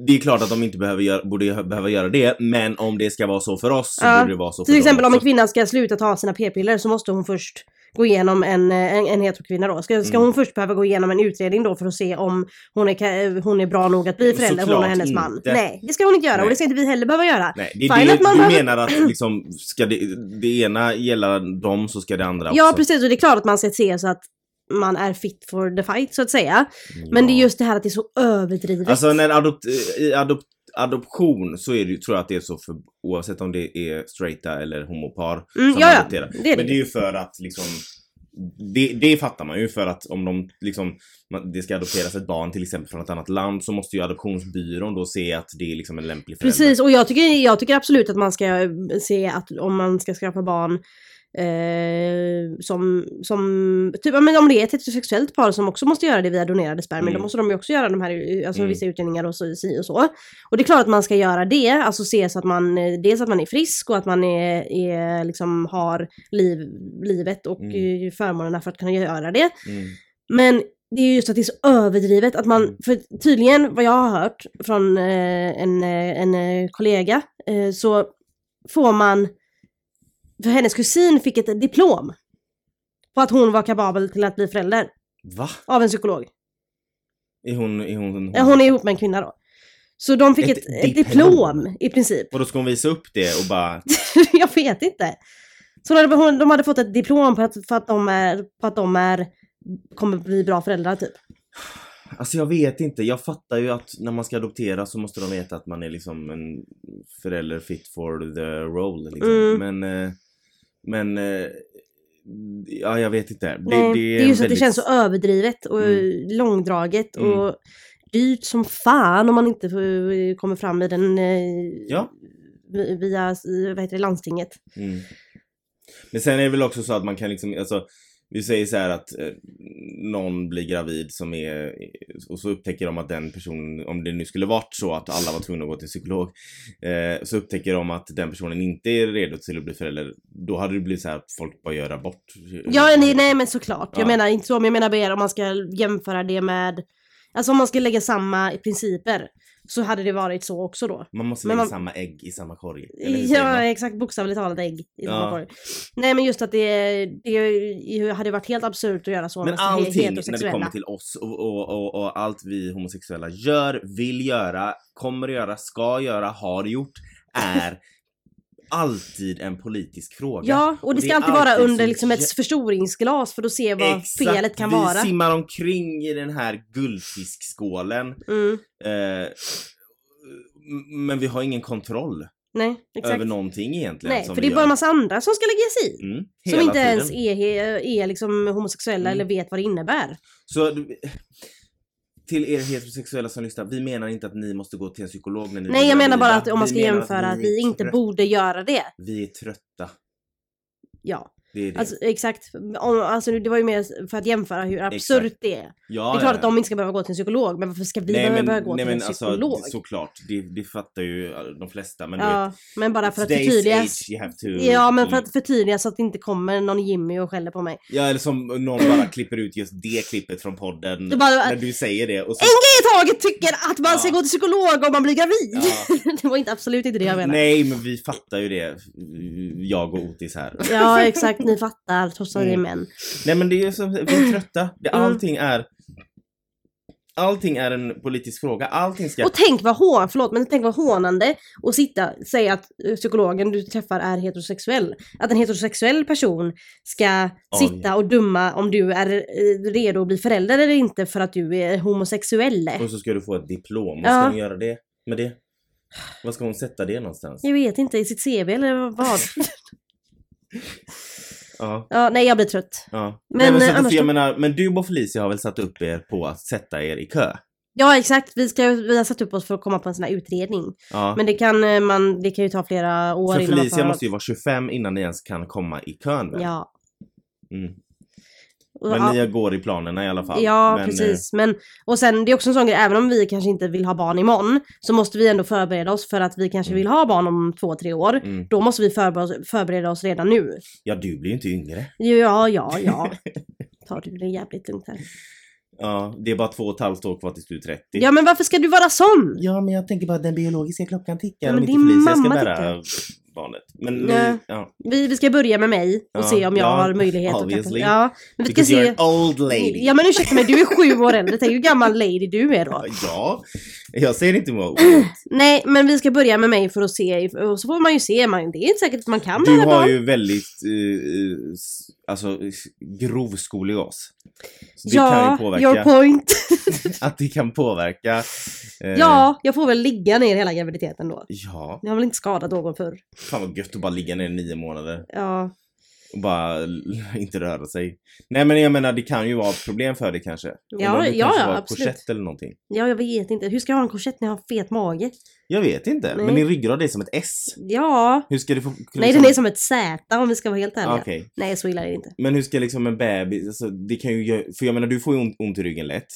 B: det är klart att de inte behöver göra, borde gö- behöva göra det, men om det ska vara så för oss så
A: Ja.
B: borde det vara så för
A: Till exempel
B: dem
A: om en
B: också.
A: kvinna ska sluta ta sina p-piller så måste hon först gå igenom en, eh, en, en heterokvinna då. Ska, ska
B: Mm.
A: hon först behöva gå igenom en utredning då för att se om hon är, ka- eh, hon är bra nog att bli förälder, hon och
B: Mm, Såklart
A: hennes
B: inte.
A: man? Nej, det ska hon inte göra och
B: Nej.
A: det ska inte vi heller behöva göra.
B: Nej, det,
A: Fine
B: är
A: att
B: det,
A: man
B: du
A: behöver-
B: menar att liksom, ska det, det ena gälla dem så ska det andra
A: Ja
B: också.
A: precis, och det är klart att man ska se så att man är fit for the fight så att säga. Men
B: Ja.
A: det är just det här att det är så överdrivet.
B: Alltså när adopt, eh, i adopt, adoption så är det, ju- tror jag att det är så för, oavsett om det är straighta eller homopar
A: Mm,
B: som
A: ja, ja.
B: adopterar.
A: Det är det.
B: Men det är ju för att liksom det, det fattar man ju för att om de liksom, man, det ska adopteras ett barn till exempel från ett annat land så måste ju adoptionsbyrån då se att det är liksom en lämplig förälder.
A: Precis, och jag tycker, jag tycker absolut att man ska se att om man ska skaffa barn eh, som, som typ, ja, men om det är ett heterosexuellt par som också måste göra det via donerade spermier,
B: Mm.
A: då måste de ju också göra de här, alltså
B: Mm.
A: vissa utredningar och så, si och så. Och det är klart att man ska göra det, alltså se så att man, eh, dels att man är frisk och att man är, är liksom har liv, livet och
B: Mm.
A: eh, förmånerna för att kunna göra det.
B: Mm.
A: Men det är just att det är så överdrivet att man,
B: Mm.
A: för tydligen vad jag har hört från eh, en, eh, en eh, kollega, eh, så får man, för hennes kusin fick ett diplom på att hon var kapabel till att bli förälder
B: Va?
A: av en psykolog.
B: Är hon, är hon, hon,
A: Eh, Hon är ihop med en kvinna då. Så de fick ett,
B: Ett
A: ett, diplom.
B: diplom?
A: i princip.
B: Och då ska hon visa upp det och bara,
A: jag vet inte. Så de hade, hon- de hade fått ett diplom på att, för att de är, på att de är, kommer bli bra föräldrar typ.
B: alltså jag vet inte, jag fattar ju att när man ska adoptera så måste de veta att man är liksom en förälder fit for the role liksom.
A: Mm.
B: Men, eh, men, eh, ja jag vet inte. Det,
A: Nej, det, är
B: en
A: just att det
B: väldigt-
A: känns så överdrivet och
B: Mm.
A: långdraget
B: Mm.
A: och dyrt som fan om man inte får- kommer fram i den eh,
B: Ja.
A: vi- via eh, vad heter det, landstinget.
B: Mm. Men sen är det väl också så att man kan liksom, alltså vi säger så här att eh, någon blir gravid som är, och så upptäcker de att den personen, om det nu skulle varit så att alla var tvungna att gå till psykolog, eh, så upptäcker de att den personen inte är redo till att bli förälder. Då hade det blivit så här att folk bara gör abort.
A: Ja, nej, nej men såklart. Jag
B: Mm. Ja.
A: menar inte så, men jag menar mer om man ska jämföra det med, alltså om man ska lägga samma principer så hade det varit så också då.
B: Man måste
A: Men
B: lägga
A: man-
B: samma ägg i samma korg. Eller hur säger
A: Ja,
B: man?
A: exakt. Bokstavligt talat ägg. I
B: Ja.
A: ja. Nej, men just att det, det hade varit helt absurt att göra så
B: Men
A: med
B: allting när det
A: heterosexuella.
B: kommer till oss och, och, och, och allt vi homosexuella gör, vill göra, kommer att göra, ska göra, har gjort, är alltid en politisk fråga.
A: Ja, och det
B: Och
A: ska
B: det är
A: alltid vara
B: alltid
A: under
B: så
A: liksom ett
B: jä-
A: förstoringsglas för att se vad
B: Exakt,
A: felet kan
B: vi
A: vara.
B: simmar omkring i den här guldfiskskålen.
A: Mm,
B: Eh, m- men vi har ingen kontroll
A: nej, exakt.
B: över någonting egentligen.
A: Nej,
B: som
A: för det
B: vi
A: är bara en
B: gör.
A: massa andra som ska lägga sig i.
B: Mm,
A: Som
B: hela
A: inte
B: tiden.
A: ens är, he- är liksom homosexuella
B: Mm.
A: eller vet vad det innebär.
B: Så du- till er heterosexuella som lyssnar, vi menar inte att ni måste gå till en psykolog när ni
A: Nej,
B: blir
A: jag menar
B: gravida.
A: bara att om man
B: Vi
A: ska
B: menar
A: jämföra att
B: ni
A: vi
B: är
A: inte
B: trö-
A: borde göra det.
B: Vi är trötta.
A: Ja.
B: Det är det.
A: Alltså, exakt. Om, alltså, det var ju mer för att jämföra hur absurt det är.
B: ja,
A: Det är klart
B: ja.
A: att de inte ska behöva gå till en psykolog, men varför ska vi behöva börja gå till en psykolog?
B: Alltså, såklart, det, det fattar ju de flesta. Men du vet,
A: ja, men bara för att
B: today's
A: förtydliga.
B: age you have to...
A: Ja, men för att förtydliga så att det inte kommer någon Jimmy och skäller på mig.
B: Ja, eller som någon bara klipper ut just det klippet från podden.
A: Det bara-
B: När du säger det och så...
A: En grej i taget tycker att man ska
B: Ja.
A: gå till psykolog om man blir gravid!
B: Ja.
A: det var inte, absolut inte det jag menade.
B: Nej, men vi fattar ju det. Jag och Otis här.
A: Ja, exakt. Ni fattar, trots att det är
B: Mm.
A: män.
B: Nej men det är ju som, vi är trötta. Det, allting är... Allting är en politisk fråga. Allting ska...
A: Och tänk vad, hå- förlåt, men tänk vad hånande att sitta säga att eh, psykologen du träffar är heterosexuell. Att en heterosexuell person ska
B: Oj.
A: sitta och döma om du är eh, redo att bli förälder eller inte för att du är homosexuell.
B: Och så ska du få ett diplom. Vad ska
A: Ja.
B: hon göra det med det? Vad ska hon sätta det någonstans?
A: Jag vet inte, i sitt CV eller vad?
B: Ja.
A: ja, nej, jag blir trött.
B: Ja. Men,
A: Men,
B: Nej, men, så
A: eh,
B: att-
A: annars-
B: jag menar, men du och Felicia har väl satt upp er på att sätta er i kö?
A: Ja, exakt. Vi, ska, vi har satt upp oss för att komma på en sån här utredning.
B: Ja.
A: Men det kan, eh, man, det kan ju ta flera år
B: För
A: innan man får-
B: Felicia måste ju vara 25 innan ni ens kan komma i kön väl?
A: Ja.
B: Mm.
A: Och-
B: Men
A: ja.
B: ni går i planerna i alla fall?
A: Ja,
B: men, eh,
A: precis. Men, och sen, det är också en sån grej, även om vi kanske inte vill ha barn imorgon, så måste vi ändå förbereda oss för att vi kanske
B: Mm.
A: vill ha barn om två, tre år.
B: Mm.
A: Då måste vi förbereda oss, förbereda oss redan nu.
B: Ja, du blir ju inte yngre.
A: Jo, Ja, ja, ja. Tar du det jävligt lugnt här.
B: Ja, det är bara två och ett halvt år kvar tills du är 30.
A: Ja, men varför ska du vara sån?
B: Ja, men jag tänker bara att den biologiska klockan tickar
A: Ja,
B: om
A: men
B: inte
A: din
B: Felicia ska
A: mamma
B: bära barnet. Men
A: Nej.
B: nu, ja.
A: Vi, vi ska börja med mig och
B: Ja,
A: se om jag
B: ja,
A: har möjlighet. att-
B: obviously.
A: ja, men vi ska
B: Because you're
A: se.
B: an old lady.
A: Ja, men ursäkta mig, du är sju år äldre. Tänk hur gammal lady du är då.
B: Ja, jag säger inte emot.
A: Nej, men vi ska börja med mig för att se. Och så får man ju se. Man, det är inte säkert att man kan
B: Du
A: bära barn.
B: har ju väldigt eh, s- alltså, s- grov skolios. Så det kan ju
A: your
B: påverka.
A: point.
B: Att det kan påverka. eh,
A: Ja, jag får väl ligga ner hela graviditeten då.
B: Ja,
A: Jag har väl inte skadat någon förr.
B: fan vad gött att bara ligga ner i nio månader
A: Ja,
B: och bara l- inte röra sig. Nej men jag menar det kan ju vara ett problem för dig kanske. Undrar om det
A: ja, ja,
B: var
A: absolut.
B: korsett eller någonting.
A: ja, jag vet inte. Hur ska jag ha en korsett när jag har en fet mage?
B: Jag vet inte, men
A: Nej.
B: din ryggrad är som ett S.
A: Ja.
B: Hur ska du få...
A: Nej, den är som ett Z om vi ska vara helt ärliga.
B: Ah, Okej.
A: Nej, så illa är det inte.
B: Men hur ska liksom en bebis, alltså det kan ju göra... För jag menar du får ju ont, ont i ryggen lätt.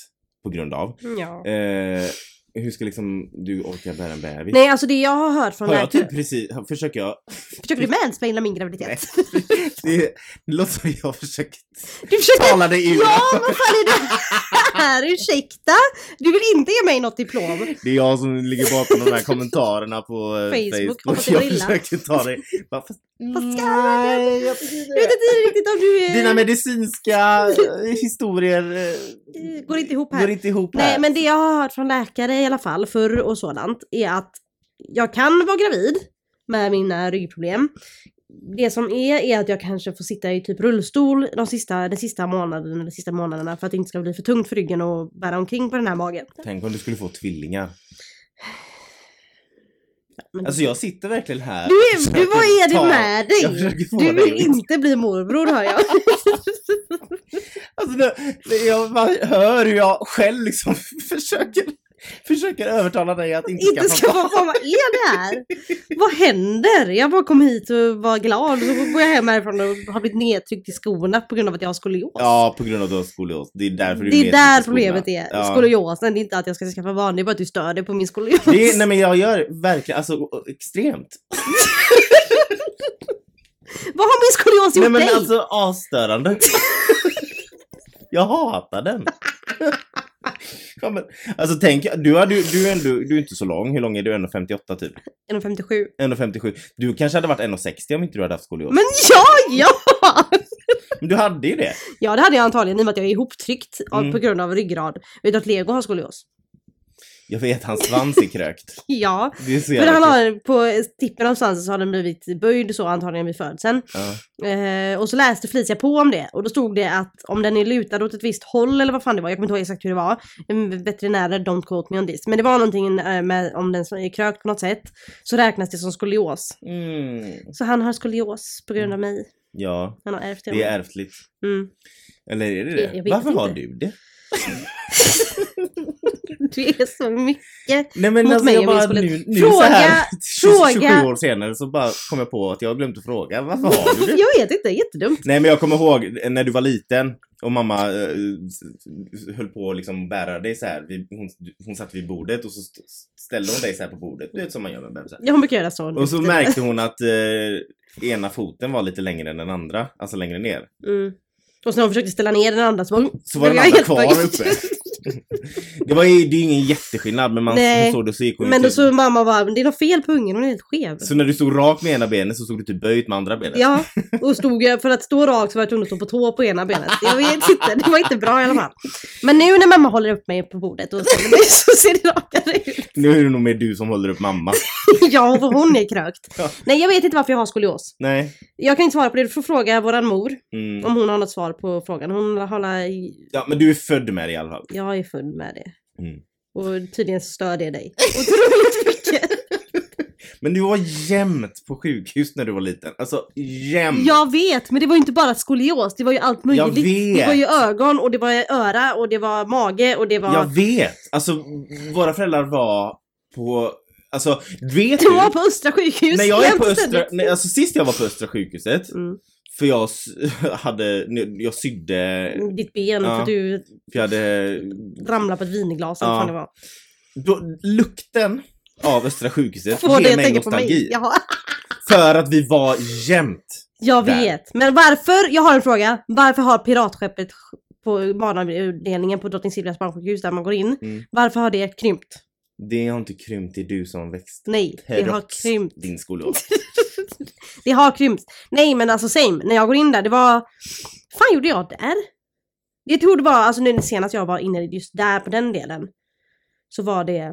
B: På grund av.
A: Ja.
B: Eh, hur ska liksom du orka bära en bebis?
A: Nej, alltså det jag har hört från
B: Har jag
A: läkare...
B: typ precis, har- försöker jag?
A: Försöker du mansplaina min graviditet?
B: Nej. Det, det låter som jag försöker
A: Du försöker...
B: tala dig ur.
A: Ja, vad fan är det här? Ursäkta? Du vill inte ge mig något diplom?
B: Det är jag som ligger bakom de här kommentarerna på eh,
A: Facebook,
B: Facebook.
A: hoppas det
B: Jag
A: var illa.
B: försöker ta dig. Vad fast-
A: Vad ska
B: Nej, jag
A: Jag vet
B: försöker-
A: inte riktigt om du... eh,
B: Dina medicinska eh, historier eh,
A: eh, Går inte ihop här.
B: går inte ihop här.
A: Nej men det jag har hört från läkare i alla fall förr och sådant är att jag kan vara gravid med mina ryggproblem. Det som är är att jag kanske får sitta i typ rullstol de sista, den sista månaden eller sista månaderna för att det inte ska bli för tungt för ryggen och bära omkring på den här magen.
B: Tänk om du skulle få tvillingar.
A: Men
B: Alltså jag sitter verkligen här.
A: du,
B: och
A: är-
B: försöker
A: du, vad är
B: ta-
A: det med
B: Jag
A: dig?
B: försöker få
A: Du
B: dig.
A: vill inte bli morbror hör jag.
B: Alltså det, det, jag bara hör hur jag själv liksom försöker, försöker övertala dig att inte,
A: inte
B: skaffa
A: ska vara vad är det här? Vad händer? Jag bara kom hit och var glad och så går jag hem härifrån och har blivit nedtryckt i skorna på grund av att jag har skolios.
B: Ja, på grund av att du har skolios. Det är därför du
A: Det är
B: medvetet
A: där
B: skolar.
A: problemet är.
B: Ja.
A: Skoliosen, det är inte att jag ska skaffa barn, det är bara att du stör dig på min skolios.
B: Det är, nej men jag gör verkligen, alltså extremt.
A: Vad har min skolios
B: Nej
A: gjort
B: men
A: dig?
B: alltså asstörande. jag hatar den. ja, men, alltså tänk, du, har, du, du, är ändå, du är inte så lång, hur lång är du? 1,58 typ?
A: 1,57.
B: 1,57. Du kanske hade varit 1,60 om inte du hade haft skolios.
A: Men ja, ja!
B: Men du hade ju det.
A: Ja det hade jag antagligen i och med att jag är ihoptryckt av,
B: Mm.
A: på grund av ryggrad. Vet du att Lego har skolios?
B: Jag vet, hans svans är krökt.
A: Ja.
B: Det är så
A: För
B: jävla
A: han
B: kul.
A: har, på tippen av svansen så har den blivit böjd så antagligen vid födseln.
B: Ja.
A: Eh, och så läste Felicia på om det och då stod det att om den är lutad åt ett visst håll eller vad fan det var, jag kommer inte ihåg exakt hur det var. Mm, Veterinärer, don't quote me on this. Men det var någonting eh, med om den som är krökt på något sätt så räknas det som skolios.
B: Mm.
A: Så han har skolios på grund av mig.
B: Ja,
A: Han har ärvt det. av
B: Mm. det
A: mig.
B: är ärftligt.
A: Mm.
B: Eller är det
A: Jag- jag
B: det?
A: vet
B: Varför
A: inte.
B: har du det?
A: Det är så mycket.
B: Nej men
A: Mot
B: alltså
A: mig
B: jag
A: om
B: bara
A: inspelet.
B: nu, nu
A: Fråga,
B: så här,
A: fråga.
B: 27 år senare så bara kom jag på att jag har glömt att fråga. Varför har du det?
A: Jag vet inte, jättedumt.
B: Nej men jag kommer ihåg när du var liten och mamma eh, höll på att liksom bära dig så här. Vi, hon, hon satt vid bordet och så st- ställde hon dig så här på bordet. Du vet som man gör med bebisar.
A: Ja, Hon brukar göra så.
B: Och så märkte hon att eh, ena foten var lite längre än den andra, alltså längre ner.
A: Mm. Och sen när hon försökte ställa ner den andra så bara...
B: Så var den
A: Jag
B: andra
A: är
B: kvar
A: helt-
B: uppe. Det, var ju, det är ju ingen jätteskillnad men man
A: Nej.
B: hon såg det så gick hon ju
A: Men då
B: typ,
A: så mamma bara, "Men det är något fel på ungen, hon är helt skev.
B: så när du stod rakt med ena benet så stod du typ böjt med andra benet.
A: Ja, och stod jag, för att stå rakt så var jag tvungen att stå på tå på ena benet. Jag vet inte, det var inte bra i alla fall. Men nu när mamma håller upp mig på bordet och ställer mig så ser det rakare ut.
B: Nu är det nog mer du som håller upp mamma.
A: Ja, för hon är krökt.
B: Ja.
A: Nej, jag vet inte varför jag har skolios.
B: Nej.
A: Jag kan inte svara på det, du får fråga våran mor
B: Mm.
A: om hon har något svar på frågan. Hon har...
B: Ja men du är född med det i alla fall.
A: Jag är full med det.
B: Mm.
A: Och tydligen så stör det dig. Otroligt mycket.
B: Men du var jämt på sjukhus när du var liten. Alltså jämt.
A: Jag vet, men det var ju inte bara skolios, det var ju allt möjligt.
B: Jag vet.
A: Det var ju ögon och det var öra och det var mage och det var...
B: Jag vet! Alltså våra föräldrar var på, alltså vet
A: Du var
B: du?
A: på Östra sjukhus
B: När jag är
A: jämt
B: på Östra,
A: ständigt.
B: nej, alltså sist jag var på Östra sjukhuset,
A: Mm.
B: för jag s- hade, jag sydde,
A: Ditt ben
B: Ja.
A: för att du
B: för jag hade,
A: ramlade på ett vinglas eller
B: Ja.
A: vad fan det var.
B: då, lukten av Östra sjukhuset
A: Får dig
B: ger
A: att
B: mig
A: tänka på mig.
B: nostalgi.
A: Jaha.
B: För att vi var jämt.
A: Jag
B: Där.
A: vet. Men varför, jag har en fråga. Varför har piratskeppet på barnavdelningen på Drottning Silvias barnsjukhus där man går in.
B: Mm.
A: Varför har det krympt?
B: Det har inte krympt, det är du som växt.
A: Nej, det har
B: Rox,
A: krympt.
B: Din skolår.
A: Det har krympt. Nej men alltså same, när jag går in där, det var... fan gjorde jag där? Jag tror det var, alltså nu senast jag var inne just där på den delen. Så var det...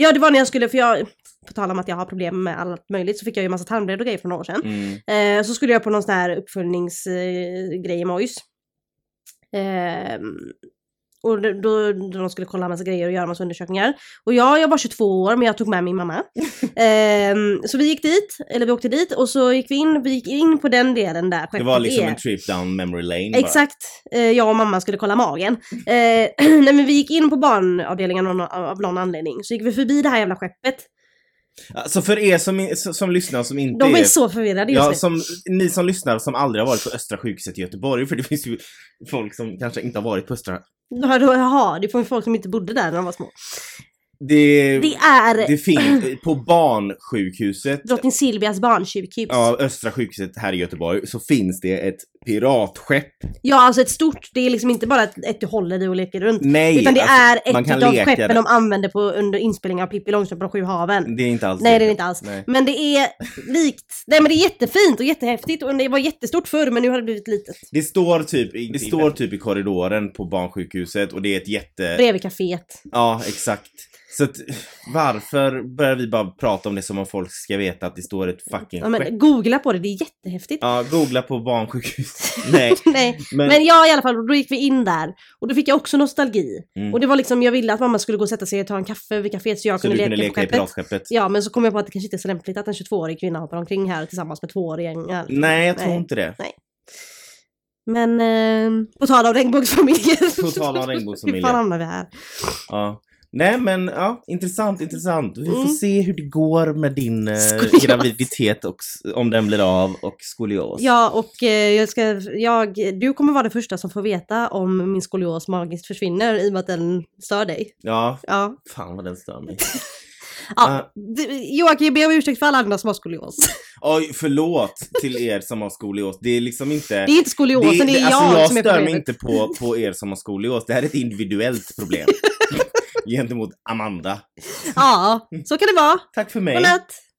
A: Ja det var när jag skulle, för jag... På tal om att jag har problem med allt möjligt så fick jag ju en massa tarmblödor och grejer för några år sedan.
B: Mm.
A: Eh, så skulle jag på någon sån här uppföljningsgrej eh, grej i Mojs. Eh, och då, då, då de skulle kolla massa grejer och göra massa undersökningar. Och jag, jag var 22 år men jag tog med min mamma. Ehm, så vi gick dit, eller vi åkte dit och så gick vi in, vi gick in på den delen där
B: Det var
A: skeppet
B: liksom
A: är.
B: en trip down memory lane bara.
A: Exakt. Eh, jag och mamma skulle kolla magen. Eh, nej men vi gick in på barnavdelningen av någon, av någon anledning. Så gick vi förbi det här jävla skeppet.
B: Alltså för er som, som lyssnar som inte
A: De är så förvirrade just
B: Ja,
A: nu.
B: som, ni som lyssnar som aldrig har varit på Östra sjukhuset i Göteborg, för det finns ju folk som kanske inte har varit på Östra.
A: Jaha, Jaha, det var ju folk som inte bodde där när de var små. Det
B: Det, det,
A: är
B: finns, på barnsjukhuset,
A: Drottning Silvias barnsjukhus. Ja.
B: ja, Östra sjukhuset här i Göteborg, så finns det ett piratskepp.
A: alltså ett stort, det är liksom inte bara ett, ett du håller i och leker runt.
B: Nej!
A: utan det
B: alltså,
A: är
B: man
A: ett
B: kan
A: av
B: leka
A: skeppen
B: där.
A: de använde på, under inspelningen av Pippi Långstrump på de sju haven.
B: det är inte alls
A: Nej det är det inte alls.
B: Nej.
A: Men det är likt, nej men det är jättefint och jättehäftigt och det var jättestort förr men nu har det blivit litet.
B: Det står typ, i- det står typ i korridoren på barnsjukhuset och det är ett jätte...
A: Bredvid kaféet.
B: Ja, exakt. Så att, varför börjar vi bara prata om det som om folk ska veta att det står ett fucking
A: Ja,
B: skepp?
A: men, googla på det, det är jättehäftigt.
B: Ja, googla på barnsjukhus. Nej,
A: nej.
B: men,
A: Men ja i alla fall, då gick vi in där och då fick jag också nostalgi.
B: Mm.
A: Och det var liksom, jag ville att mamma skulle gå och sätta sig och ta en kaffe vid kaféet så jag
B: så du
A: kunde,
B: kunde
A: leka på
B: leka i
A: skeppet.
B: piratskeppet?
A: Ja, men så kom jag på att det kanske inte är så lämpligt att en 22-årig kvinna hoppar omkring här tillsammans med tvååringar.
B: Nej, jag tror
A: Nej.
B: inte det.
A: Men eh, på tal om regnbågsfamiljer.
B: På tal om regnbågsfamiljer.
A: Hur fan hamnar vi här?
B: Ja. Nej men ja, intressant, intressant. Vi får
A: Mm.
B: se hur det går med din eh,
A: Skolios.
B: graviditet och s- om den blir av och skolios.
A: Ja, och eh, jag ska, jag, du kommer vara den första som får veta om min skolios magiskt försvinner i och med att den stör dig.
B: ja,
A: Ja.
B: fan vad den stör mig.
A: ja.
B: Ah.
A: du- Joakim, jag ber om ursäkt för alla andra som har skolios.
B: Oj, förlåt till er som har skolios. Det är liksom inte...
A: Det är inte skoliosen, det, är
B: alltså,
A: jag,
B: jag
A: som är
B: stör mig
A: problemet.
B: inte på, på er som har skolios. Det här är ett individuellt problem. Gentemot Amanda.
A: Ja, så kan det vara.
B: Tack för mig.
A: Godnatt!